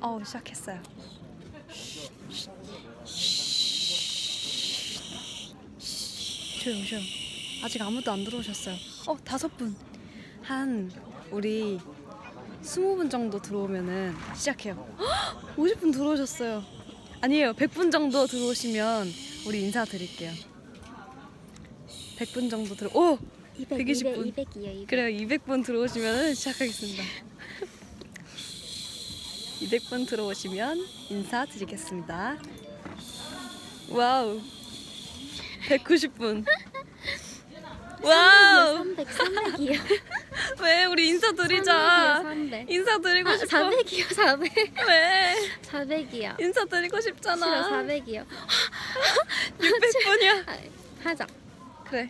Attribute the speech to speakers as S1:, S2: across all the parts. S1: 어 시작했어요. 조용 조용. 아직 아무도 안 들어오셨어요. 어 다섯 분. 한 우리 스무 분 정도 들어오면은 시작해요. 헉! 50분 들어오셨어요. 아니에요. 100분 정도 들어오시면 우리 인사드릴게요. 100분 정도 들어. 오
S2: 200,
S1: 120 분.
S2: 200, 200이요. 200.
S1: 그래요. 200분 들어오시면 시작하겠습니다. 200분 들어오시면 인사드리겠습니다. 와우. 190분. 와우.
S2: 300, 300이요.
S1: 왜 우리 인사드리자.
S2: 300. 아,
S1: 인사드리고 싶어.
S2: 400이요, 400.
S1: 왜?
S2: 400이요.
S1: 인사드리고 싶잖아.
S2: 싫어, 400이요. 아,
S1: 600분이야.
S2: 하자.
S1: 그래.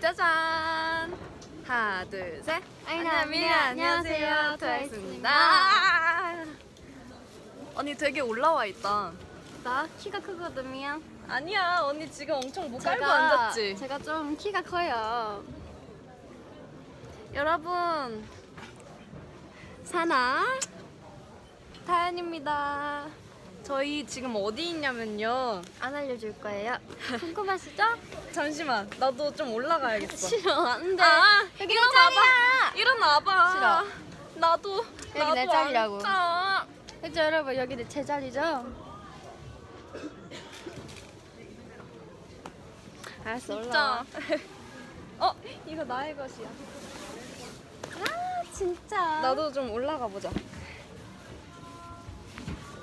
S1: 짜잔. 하나, 둘, 셋.
S2: 아이나미, 안녕하세요. 트와이스입니다.
S1: 언니 되게 올라와 있다.
S2: 나 키가 크거든요.
S1: 아니야, 언니 지금 엄청 목 깔고
S2: 제가-
S1: 앉았지.
S2: 제가 좀 키가 커요. 여러분, 사나 다현입니다.
S1: 저희 지금 어디 있냐면요.
S2: 안 알려줄 거예요. 궁금하시죠?
S1: 뭐. 잠시만, 나도 좀 올라가야겠어.
S2: 싫어, 안 돼.
S1: 아,
S2: 여기 내
S1: 일어나봐.
S2: 자리야.
S1: 일어나봐.
S2: 싫어.
S1: 나도
S2: 여기
S1: 나도
S2: 내 자리라고.
S1: 앉자.
S2: 그죠 여러분 여기 제 자리죠? 알았어
S1: 아, 진짜.
S2: 올라와.
S1: 어, 이거 나의 것이야.
S2: 아 진짜.
S1: 나도 좀 올라가 보자.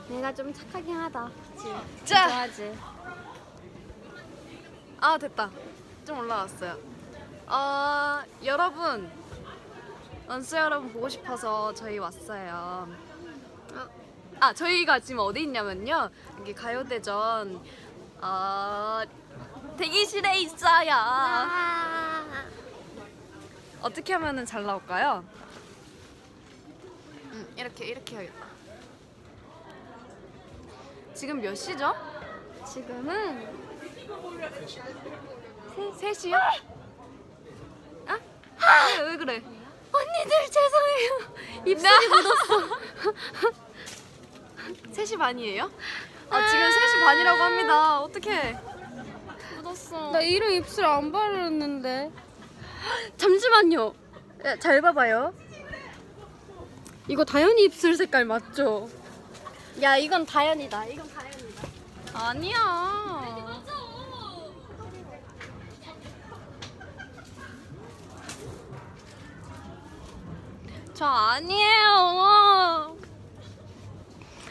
S2: 내가 좀 착하긴 하다. 그치?
S1: 자.
S2: 좋아하지.
S1: 아 됐다 좀 올라왔어요 어, 여러분 원스 여러분 보고 싶어서 저희 왔어요 어, 아 저희가 지금 어디 있냐면요 여기 가요대전 어, 대기실에 있어요
S2: 아.
S1: 어떻게 하면 잘 나올까요? 음, 이렇게 이렇게 해야겠다 지금 몇 시죠?
S2: 지금은
S1: 3시요? 아? 왜, 왜 그래?
S2: 언니들 죄송해요.
S1: 입술이 묻었어. 3시 반이에요? 아, 지금 3시 반이라고 합니다. 어떡해. 묻었어.
S2: 나 이름 입술 안 바르는데.
S1: 잠시만요. 야, 잘 봐봐요.
S2: 이거 다현이 입술 색깔 맞죠? 야 이건 다현이다. 이건 다현이다.
S1: 아니야. 저 아니에요.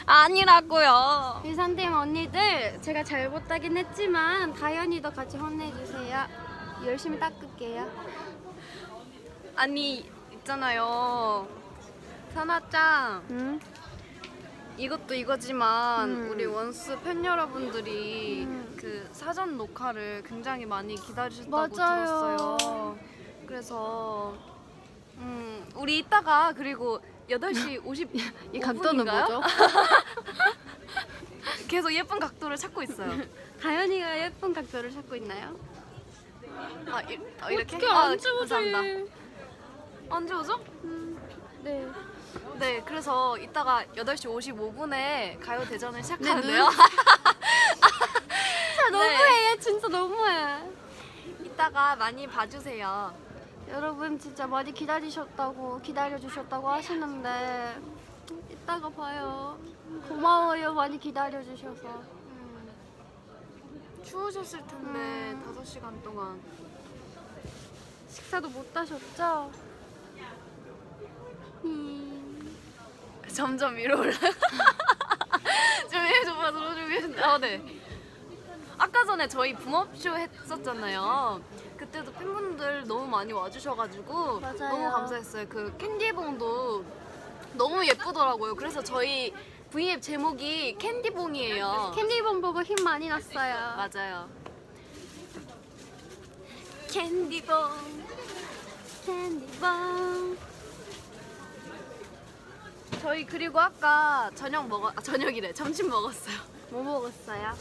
S1: 아니라고요.
S2: 일산팀 언니들 제가 잘못하긴 했지만 다현이도 같이 혼내주세요. 열심히 닦을게요.
S1: 아니, 있잖아요. 산화짱.
S2: 응?
S1: 이것도 이거지만
S2: 음.
S1: 우리 원스 팬 여러분들이
S2: 음.
S1: 그 사전 녹화를 굉장히 많이 기다리셨다고
S2: 맞아요.
S1: 들었어요. 그래서 음, 우리 이따가 그리고 8시 50,
S2: 이 각도는 뭐죠?
S1: 계속 예쁜 각도를 찾고 있어요.
S2: 다현이가 예쁜 각도를 찾고 있나요?
S1: 아, 이, 어, 이렇게? 아,
S2: 안 찍어줘.
S1: 감사합니다. 안 좋아져?
S2: 네.
S1: 네, 그래서 이따가 8시 55분에 가요 대전을 시작하는데요.
S2: 네,
S1: 네.
S2: 진짜 너무해. 진짜 너무해.
S1: 이따가 많이 봐주세요.
S2: 여러분 진짜 많이 기다리셨다고 기다려주셨다고 하시는데 이따가 봐요. 고마워요. 많이 기다려주셔서.
S1: 추우셨을 텐데
S2: 음.
S1: 5시간 동안
S2: 식사도 못 하셨죠? 음.
S1: 점점 위로 올라. 준비해 줘봐, 들어 준비해. 아 네. 아까 전에 저희 붐업쇼 했었잖아요. 그때도 팬분들 너무 많이 와주셔가지고
S2: 맞아요.
S1: 너무 감사했어요. 그 캔디봉도 너무 예쁘더라고요. 그래서 저희 V앱 제목이 캔디봉이에요.
S2: 캔디본 보고 힘 많이 났어요.
S1: 맞아요. 캔디봉.
S2: 캔디본.
S1: 저희 그리고 아까 저녁 먹어 아, 저녁이래 점심 먹었어요.
S2: 뭐 먹었어요?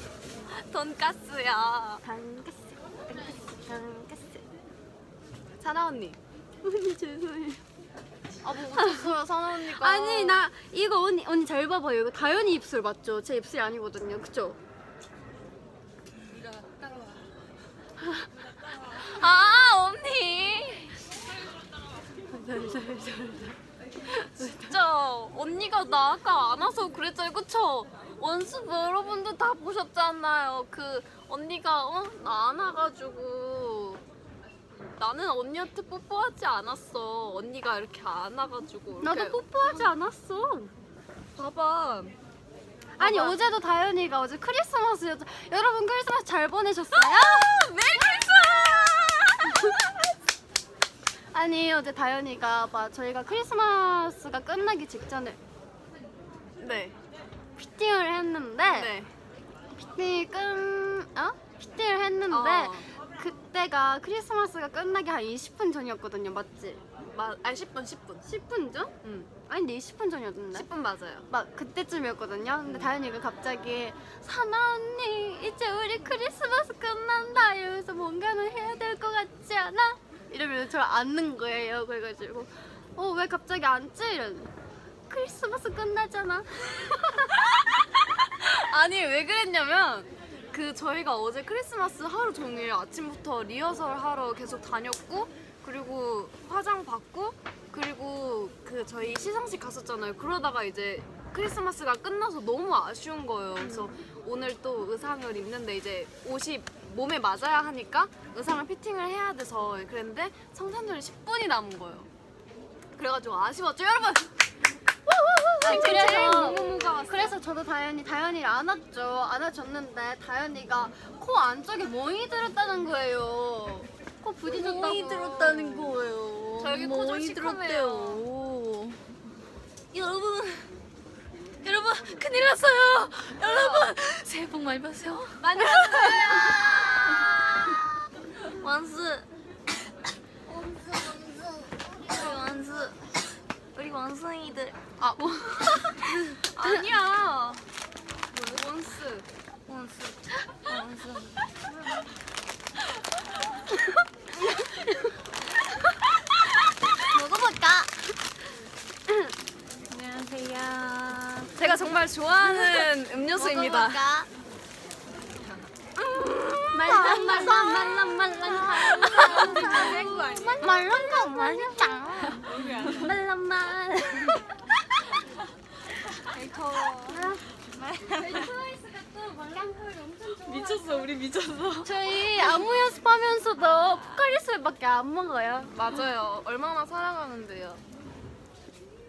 S1: 돈까스요.
S2: 돈가스. 돈가스. 돈가스.
S1: 사나 언니.
S2: 언니 죄송해요.
S1: 아 아뭐 웃었어요 사나 언니가
S2: 아니 나 이거 언니 언니 잘 봐봐요. 이거 다현이 입술 맞죠? 제 입술이 아니거든요. 그쵸?
S1: 아 언니 진짜 언니가 나 아까 안 와서 그랬잖아요 그쵸? 원숙 여러분들 다 보셨잖아요 그 언니가 어 나 안 와가지고 나는 언니한테 뽀뽀하지 않았어 언니가 이렇게 안 와가지고
S2: 나도
S1: 이렇게
S2: 뽀뽀하지 아, 않았어.
S1: 봐봐
S2: 아니
S1: 봐봐.
S2: 어제도 다현이가 어제 크리스마스였죠. 여러분 크리스마스 잘 보내셨어요? 네, 아니 어제 다현이가 막 저희가 크리스마스가 끝나기 직전에
S1: 네,
S2: 피팅을 했는데
S1: 네.
S2: 피팅 끝 어? 피팅을 했는데
S1: 어.
S2: 그때가 크리스마스가 끝나기 한 20분 전이었거든요, 맞지?
S1: 마, 아 10분 10분
S2: 10분 전?
S1: 응
S2: 아니 근데 20분 전이었는데.
S1: 10분 맞아요
S2: 막 그때쯤이었거든요. 근데 다현이가 갑자기 사나 언니 이제 우리 크리스마스 끝난다 이러면서 뭔가는 해야 될 것 같지 않아? 이러면서 저를 안는 거예요. 그래가지고 어 왜 갑자기 앉지? 이러는 크리스마스 끝나잖아.
S1: 아니 왜 그랬냐면 그 저희가 어제 크리스마스 하루 종일 아침부터 리허설 하러 계속 다녔고 그리고 화장 받고 그리고 그 저희 시상식 갔었잖아요. 그러다가 이제 크리스마스가 끝나서 너무 아쉬운 거예요. 그래서 오늘 또 의상을 입는데 이제 옷이 몸에 맞아야 하니까 의상을 피팅을 해야 돼서 그랬는데 성탄절이 10분이 남은 거예요. 그래가지고 아쉬웠죠 여러분.
S2: 아니, 그래서
S1: 무무무가 왔어.
S2: 그래서 저도 다현이 다현이를 안았죠. 안아줬는데 다현이가 코 안쪽에 멍이 들었다는 거예요. 코 부딪혔다고.
S1: 거예요. 저에게 코좀 시커매요. 여러분, 여러분 큰일 났어요. 여러분 새해 복 많이 받으세요. 많이 받으세요. 원수. 우리 원수. 우리 원숭이들. 아, 원. 아니야. 원수. 원수. 원수.
S2: 먹어볼까?
S1: 제가 정말 좋아하는 음료수입니다.
S2: 먹어볼까? 말랑 말랑 말랑 말랑 말랑 말랑 말랑 말랑 말랑
S1: 미쳤어, 우리 미쳤어.
S2: 저희 안무 연습하면서도 포카리스밖에 안 먹어요.
S1: 맞아요. 얼마나 사랑하는데요.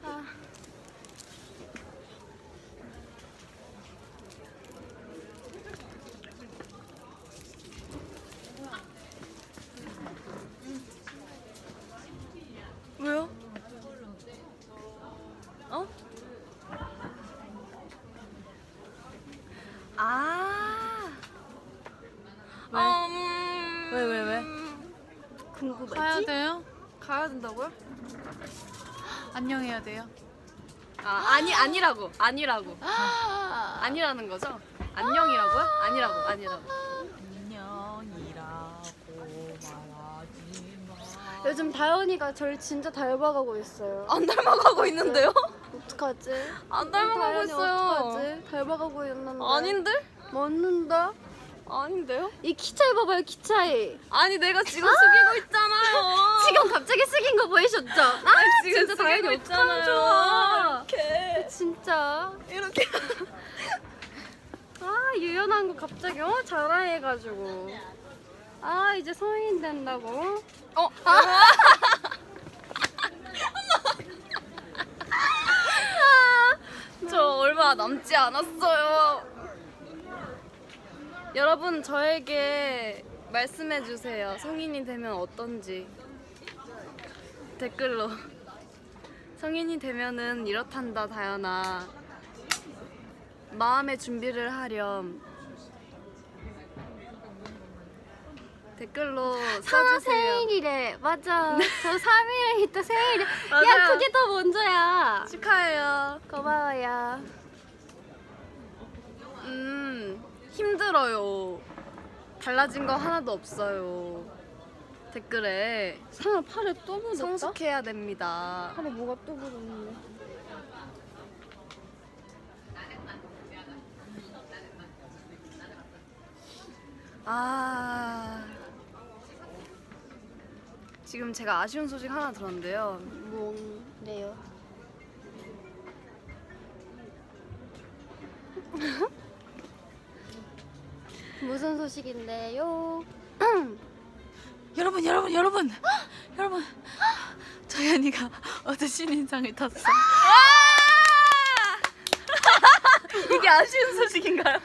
S1: 아. 왜요? 어? 아. 왜? 왜, 왜, 왜?
S3: 가야 돼요?
S1: 가야 된다고요?
S3: 안녕해야 돼요?
S1: 아, 아니 아니라고 아니라고 아니라는 거죠? 안녕이라고요? 아니라고 아니라고
S3: 안녕이라고 말하지 마.
S2: 요즘 다현이가 저를 진짜 닮아가고 있어요.
S1: 안 닮아가고 있는데요?
S2: 어떡하지?
S1: 안 닮아가고
S2: 다현이
S1: 네, 있어요
S2: 어떡하지? 닮아가고 있는데.
S1: 아닌데?
S2: 맞는데?
S1: 아닌데요?
S2: 이 키 차이 봐봐요, 키 차이.
S1: 아니 내가 지금 숙이고 있잖아요
S2: 지금 갑자기 숙인 거 보이셨죠? 아,
S1: 아니, 지금
S2: 진짜
S1: 숙이고
S2: 다현이
S1: 있잖아요
S2: 어떡하면 좋아.
S1: 이렇게
S2: 진짜.
S1: 이렇게
S2: 아, 유연한 거 갑자기 어? 자라해가지고. 아, 이제 성인 된다고.
S1: 어?
S2: 아.
S1: 저 얼마 남지 않았어요. 여러분 저에게 말씀해 주세요. 성인이 되면 어떤지 댓글로. 성인이 되면은 이렇단다 다현아. 마음의 준비를 하렴. 댓글로 써주세요.
S2: 사나 생일이래. 맞아. 저 3일 있다 생일이래. 야,
S1: 맞아요.
S2: 그게 더 먼저야.
S1: 축하해요.
S2: 고마워요.
S1: 음 힘들어요. 달라진 거 하나도 없어요.
S2: 댓글에 사나 팔에 또 묻었다?
S4: 성숙해야 됩니다.
S2: 팔에 뭐가 또 묻었네
S4: 아 지금 제가 아쉬운 소식 하나 들었는데요.
S2: 뭔데요? 무슨 소식인데요?
S5: 여러분 여러분 여러분 여러분 저희 언니가 어제 신인상을 탔어요.
S4: 이게 아쉬운 소식인가요?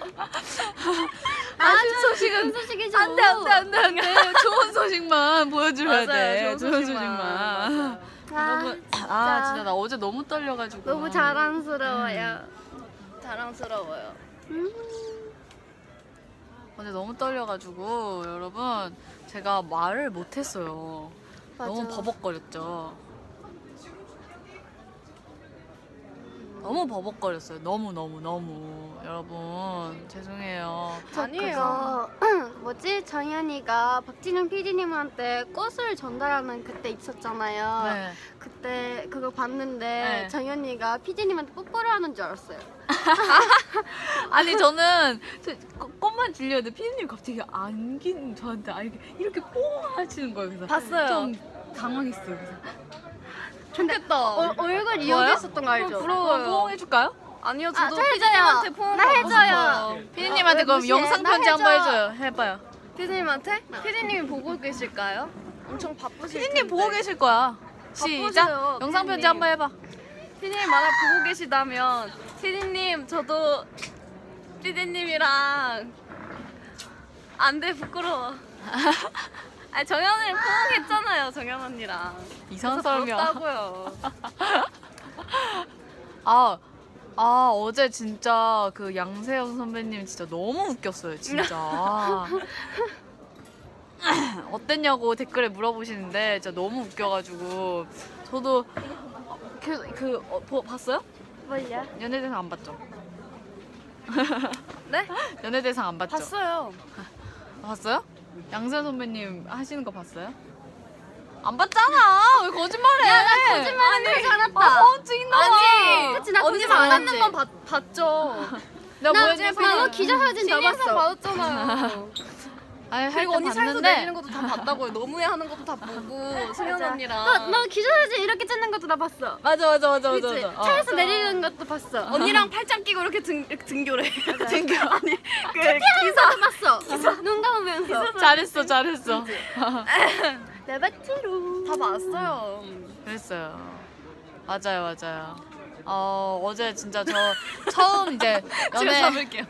S2: 아쉬운 소식은 소식이죠.
S5: 안돼 안돼 안돼 안돼 네, 좋은 소식만 보여줘야
S4: 맞아요,
S5: 돼.
S4: 좋은 소식만.
S2: 아,
S5: 너무 음. 아 진짜 나 어제 너무 떨려가지고
S2: 너무 아- 자랑스러워요.
S4: 자랑스러워요.
S5: 어제 너무 떨려가지고 여러분 제가 말을 못했어요. 너무
S2: 맞아.
S5: 버벅거렸죠. 너무 버벅거렸어요. 너무 너무 너무 여러분 죄송해요.
S2: 아니에요. 뭐지? 정연이가 박진영 PD님한테 꽃을 전달하는 그때 있었잖아요.
S5: 네.
S2: 그때 그거 봤는데
S5: 네.
S2: 정연이가 PD님한테 뽀뽀를 하는 줄 알았어요.
S5: 아니 저는 저- 꼬- 꽃만 질려는데 피디님 갑자기 안긴 저한테 아, 이렇게 이렇게 뽀 하시는 거예요. 그래서
S4: 봤어요.
S5: 좀 당황했어요. 그래서
S1: 좋겠다.
S2: 어, 얼굴 이용했었던 거
S4: 어,
S2: 알죠?
S5: 부러워요. 포옹해줄까요?
S1: 아니요,
S2: 아,
S1: 저도
S2: 저 해줘요.
S1: 피디님한테 포옹
S2: 나
S1: 받고
S2: 해줘요.
S1: 싶어요. 네,
S5: 피디님한테
S2: 아,
S5: 그럼
S2: 무시해.
S5: 영상
S2: 나
S5: 편지 한번
S2: 해줘.
S5: 해줘요. 해봐요.
S1: 피디님한테? 피디님이 보고 계실까요? 엄청 바쁘실 텐데.
S5: 피디님 보고 계실 거야. 시작.
S1: 바쁘세요,
S5: 영상 편지
S1: 피디님.
S5: 한번 해봐.
S1: 피디님 만약 보고 계시다면 피디님 저도 피디님이랑 안돼 부끄러워. 아 정연을 포옹했잖아요 정연 언니랑.
S5: 이상한
S1: 그래서
S5: 사람이야.
S1: 부럽다고요.
S5: 아, 아 어제 진짜 그 양세형 선배님 진짜 너무 웃겼어요 진짜. 아. 어땠냐고 댓글에 물어보시는데 진짜 너무 웃겨가지고 저도 그, 그 어, 보- 봤어요?
S2: 뭘요?
S5: 연예대상 안 봤죠?
S1: 네?
S5: 연예대상 안 봤죠?
S1: 봤어요.
S5: 아, 봤어요? 양세형 선배님 하시는 거 봤어요? 안 봤잖아 왜 거짓말해?
S2: 거짓말하는 줄
S5: 아,
S2: 알았다.
S5: 허언증인가 봐.
S2: 아니, 그치, 나
S1: 언니
S2: 거짓말 안
S1: 받았는 건 봤, 봤죠.
S2: 나
S5: 내가 뭐였지?
S2: 나도 기자사진 다
S1: 신인상
S2: 봤어.
S1: 받았잖아요.
S5: 아니, 할
S1: 그리고
S5: 건
S1: 언니 살도
S5: 봤는데.
S1: 내리는 것도 다 봤다고요. 너무해 하는 것도 다 보고 승현 언니랑.
S2: 너, 어, 너 기자사진 이렇게 찍는 것도 나 봤어.
S5: 맞아 맞아 맞아 맞아
S2: 그치?
S5: 맞아. 어.
S2: 차에서 내리는 것도 봤어.
S1: 언니랑 팔짱 끼고 이렇게 등 이렇게 등교를 해요. 등교 아니 그
S2: 기사도 봤어. 눈 감으면서.
S5: 어. 잘했어 잘했어
S2: 내 밭으로.
S1: 다 봤어요.
S2: 네.
S5: 그랬어요 맞아요 맞아요 어 어제 진짜 저 처음 이제
S1: 지금
S5: 연애
S1: 잡을게요.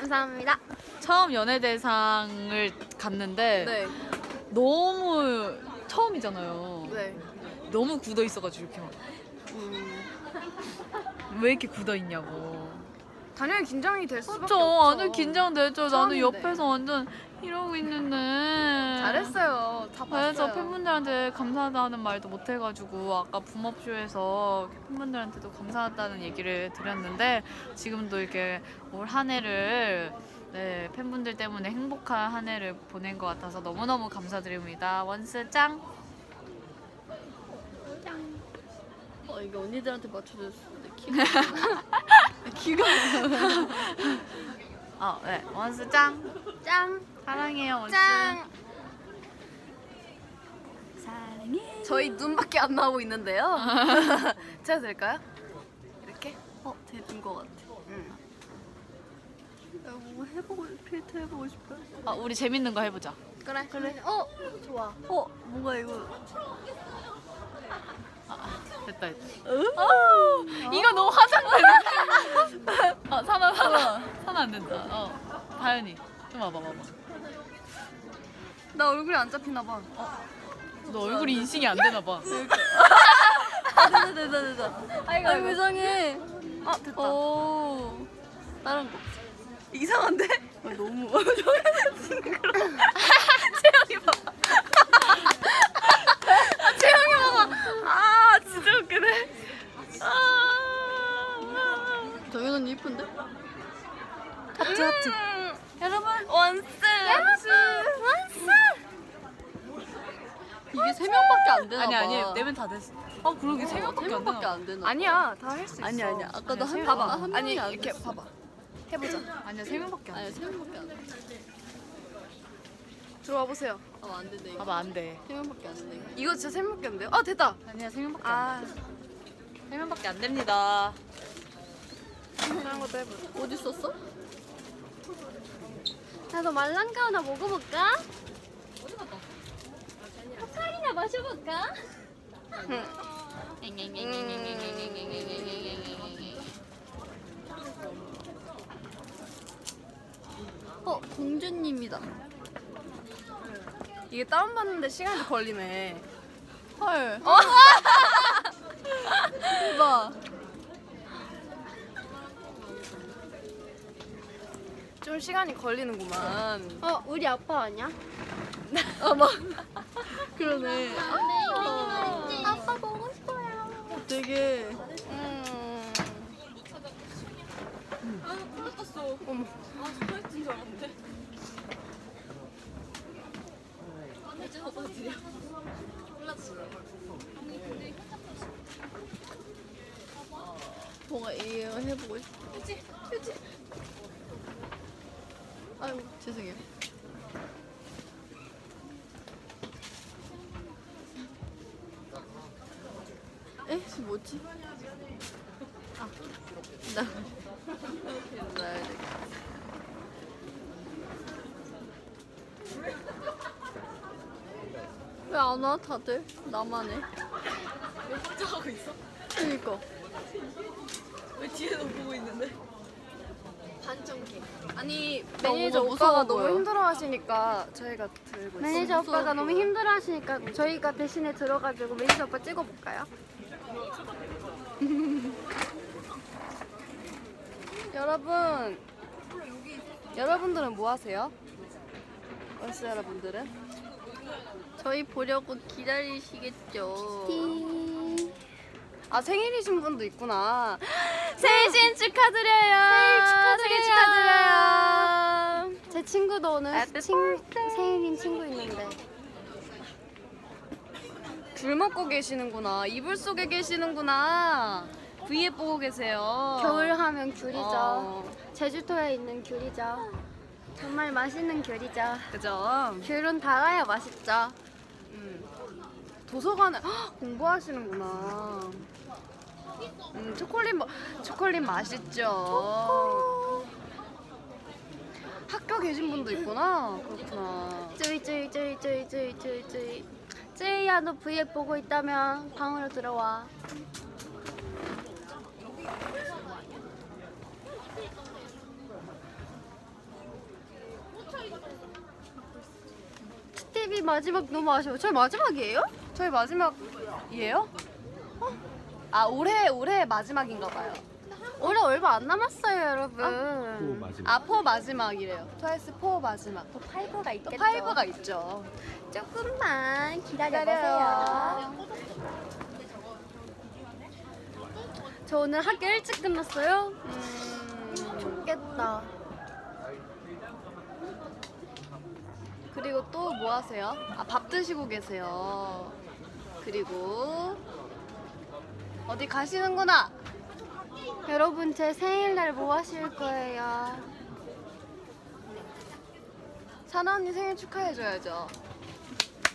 S2: 감사합니다.
S5: 처음 연예 대상을 갔는데
S1: 네.
S5: 너무 처음이잖아요
S1: 네.
S5: 너무 굳어 있어가지고 이렇게
S1: 음.
S5: 막 왜 이렇게 굳어 있냐고
S1: 당연히 긴장이 될 수밖에
S5: 그쵸
S1: 없죠.
S5: 완전 긴장되죠
S1: 처음인데.
S5: 나는 옆에서 완전 이러고 있는데
S1: 잘했어요. 다
S5: 그래서
S2: 네,
S1: 봤어요.
S5: 팬분들한테 감사하다는 말도 못 해가지고 아까 붐업쇼에서 팬분들한테도 감사하다는 얘기를 드렸는데 지금도 이렇게 올 한 해를 네, 팬분들 때문에 행복한 한 해를 보낸 것 같아서 너무너무 감사드립니다. 원스 짱!
S1: 어, 이게 언니들한테 맞춰줄 수도 있
S5: 어, 네, 원스 짱!
S2: 짱.
S5: 사랑해요, 원스.
S2: 짱.
S1: 저희 눈밖에 안 나오고 있는데요. 제가 될까요? 이렇게? 어, 되는 것 같아. 응. 뭐 해보고 필터 해보고 싶어요.
S5: 아, 우리 재밌는 거 해보자.
S2: 그래. 그래. 어, 좋아.
S1: 어, 뭔가 이거
S5: 됐다, 됐다. 어, 이거 너무 화장되는데? 어, 사나, 사나. 사나 안 된다. 어, 다현이. 좀 와봐, 와봐.
S1: 나 얼굴이 안 잡히나 봐.
S5: 어. 너 얼굴이 인식이 안 되나 봐.
S1: 됐다 됐다 됐다. 아이고, 아이고. 이상해. 아 됐다.
S2: 어.
S1: 오. 다른 거. 이상한데?
S2: 아,
S1: 너무
S5: 여러분
S2: 아,
S1: 원스. 원스. 원스.
S2: 이게 세 명밖에 안 되나
S5: 아니
S2: 봐.
S5: 아니 네명 다 됐어. 아 그러게 세
S2: 세
S5: 명밖에 안
S2: 명밖에
S5: 되나?
S2: 안 되나?
S1: 아니야 다 할 수 있어.
S2: 아니 아니야. 아까도
S5: 아니야,
S2: 한
S5: 세
S2: 명,
S5: 명.
S2: 아, 한
S1: 아니
S2: 명이 안
S1: 이렇게
S2: 됐어.
S1: 봐봐. 해보자.
S5: 아니야 세 명밖에 안
S2: 아니
S5: 돼.
S2: 세 명밖에 안 돼.
S1: 들어와 보세요.
S2: 아, 안 된다 이거.
S5: 봐봐 안 돼.
S2: 세 명밖에 안 된다 이거.
S1: 이거 진짜 세 명밖에 안 돼요. 아 됐다.
S5: 아니야 세 명밖에
S1: 아
S5: 안 돼. 세 명밖에 안 됩니다.
S1: 그런 것도 해보자.
S2: 어디 있었어? 나도 말랑가 하나 먹어볼까? 어디 갔다? 포카리나 마셔볼까? 어 공주님이다.
S1: 이게 다운 받는데 시간이 좀 걸리네.
S2: 헐.
S1: 어.
S2: 대박.
S1: 좀 시간이 걸리는구만.
S2: 어 우리 아빠 아니야?
S1: 그러네.
S2: 어, 아빠 보고 싶어요.
S1: 되게. 음.
S2: 뭔가 이거 해보고 싶어. 그치, 그치. 아유 죄송해요. 에? 지금 뭐지? 아, 나. 나야 돼. 왜 안 와, 다들? 나만 해. 그니까.
S1: 아니
S2: 나
S1: 매니저
S2: 오늘
S1: 오빠가
S2: 무서워 보여.
S1: 너무 힘들어하시니까 저희가 들고 있어요.
S2: 매니저 오빠가 너무 힘들어 하시니까 저희가 대신에 들어가지고 매니저 오빠 찍어볼까요?
S1: 여러분 여러분들은 뭐 하세요? 원스 여러분들은?
S2: 저희 보려고 기다리시겠죠.
S1: 아 생일이신 분도 있구나. 생신 축하드려요. 음. 생일 축하드려요.
S2: 제 친구도 오늘 친, 생일인 친구 있는데
S1: 줄 먹고 계시는구나. 이불 속에 계시는구나. 위에 보고 계세요.
S2: 겨울 하면 귤이죠.
S1: 어.
S2: 제주도에 있는 귤이죠. 정말 맛있는 귤이죠.
S1: 그죠?
S2: 귤은 달아야 맛있죠.
S1: 도서관에 헉, 공부하시는구나. 음, 초콜릿 마, 초콜릿 맛있죠. 학교 계신 분도 있구나. 그렇구나.
S2: 쯔이 쯔이 쯔이 쯔이 쯔이 쯔이 쯔이 쯔이야 너 브이앱 보고 있다면 방으로 들어와. TV 마지막 너무 아쉬워. 저희 마지막이에요?
S1: 저희 마지막이에요? 어? 아 올해 올해 마지막인가 봐요.
S2: 원래 얼마 안 남았어요, 여러분.
S1: 아 포 마지막이래요. 트와이스 포 마지막.
S2: 또 파이브가
S1: 또
S2: 있겠죠.
S1: 파이브가 있죠.
S2: 조금만
S1: 기다려요.
S2: 기다려보세요. 저 오늘 학교 일찍 끝났어요. 음, 좋겠다.
S1: 그리고 또 뭐 하세요? 아, 밥 드시고 계세요. 그리고 어디 가시는구나.
S2: 여러분 제 생일날 뭐 하실 거예요?
S1: 사나 언니 생일 축하해줘야죠.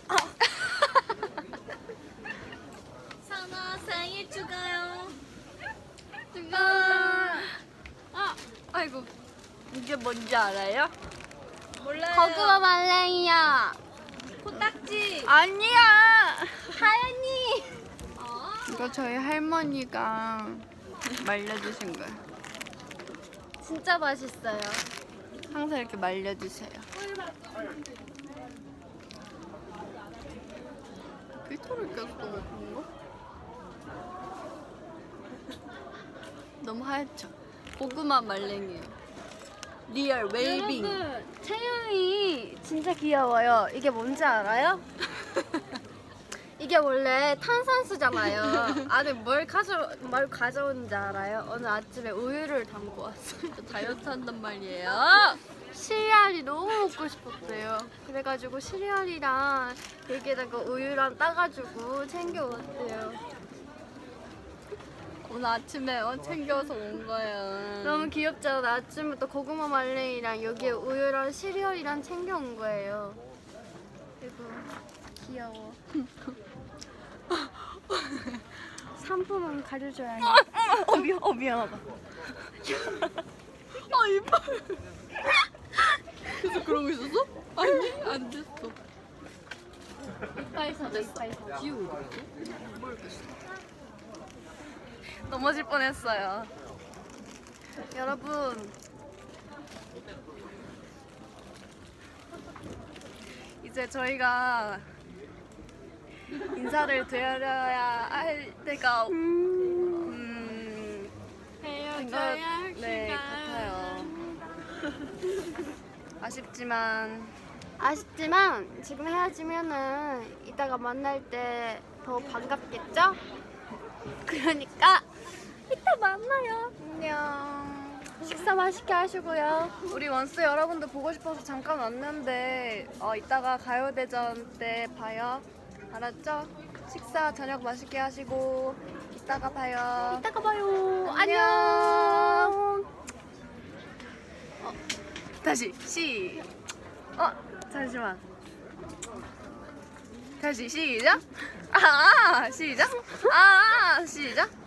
S1: 아.
S2: 사나 생일 축하요.
S1: 아이고 이게 뭔지 알아요? 네.
S2: 고구마 말랭이야.
S1: 네. 아니야.
S2: 하연이.
S1: 이거 저희 할머니가 말려주신 거예요.
S2: 진짜 맛있어요.
S1: 항상 이렇게 말려주세요. 필터를 껴서 너무 그런가? 너무 하얗죠? 고구마 말랭이에요. 리얼 웨이빙.
S2: 여러분 채영이 진짜 귀여워요. 이게 뭔지 알아요? 이게 이게 원래 탄산수잖아요. 안에 뭘 가져 뭘 가져온 줄 알아요? 오늘 아침에 우유를 담고 왔어요. 다이어트 한단 말이에요. 시리알이 너무 먹고 싶었어요. 그래가지고 시리알이랑 여기다가 우유랑 따가지고 챙겨왔어요.
S1: 오늘 아침에 어, 챙겨서 온 거예요.
S2: 너무 귀엽죠? 나 아침에 또 고구마 말랭이랑 여기에 우유랑 시리얼이랑 챙겨온 거예요. 그리고 귀여워. 상품은 가려줘야 해.
S1: 어, 미안, 어 미안하다. 아 이빨. 계속 그러고 있었어? 아니 안 됐어.
S2: 이빨 사줘, 이빨
S1: 네.
S2: 사줘.
S1: 넘어질 뻔했어요.
S2: 여러분,
S1: 이제 저희가 인사를 드려야 할 때가 음, 헤어져야 네 같아요. 아쉽지만
S2: 아쉽지만 지금 헤어지면은 이따가 만날 때 더 반갑겠죠? 그러니까 이따 만나요. 안녕. 식사 맛있게 하시고요.
S1: 우리 원스 여러분들 보고 싶어서 잠깐 왔는데 어, 이따가 가요대전 때 봐요. 알았죠? 식사 저녁 맛있게 하시고 이따가 봐요.
S2: 이따가 봐요. 안녕.
S1: 어, 다시 시. 어 잠시만. 다시 시작. 아 시작. 아 시작.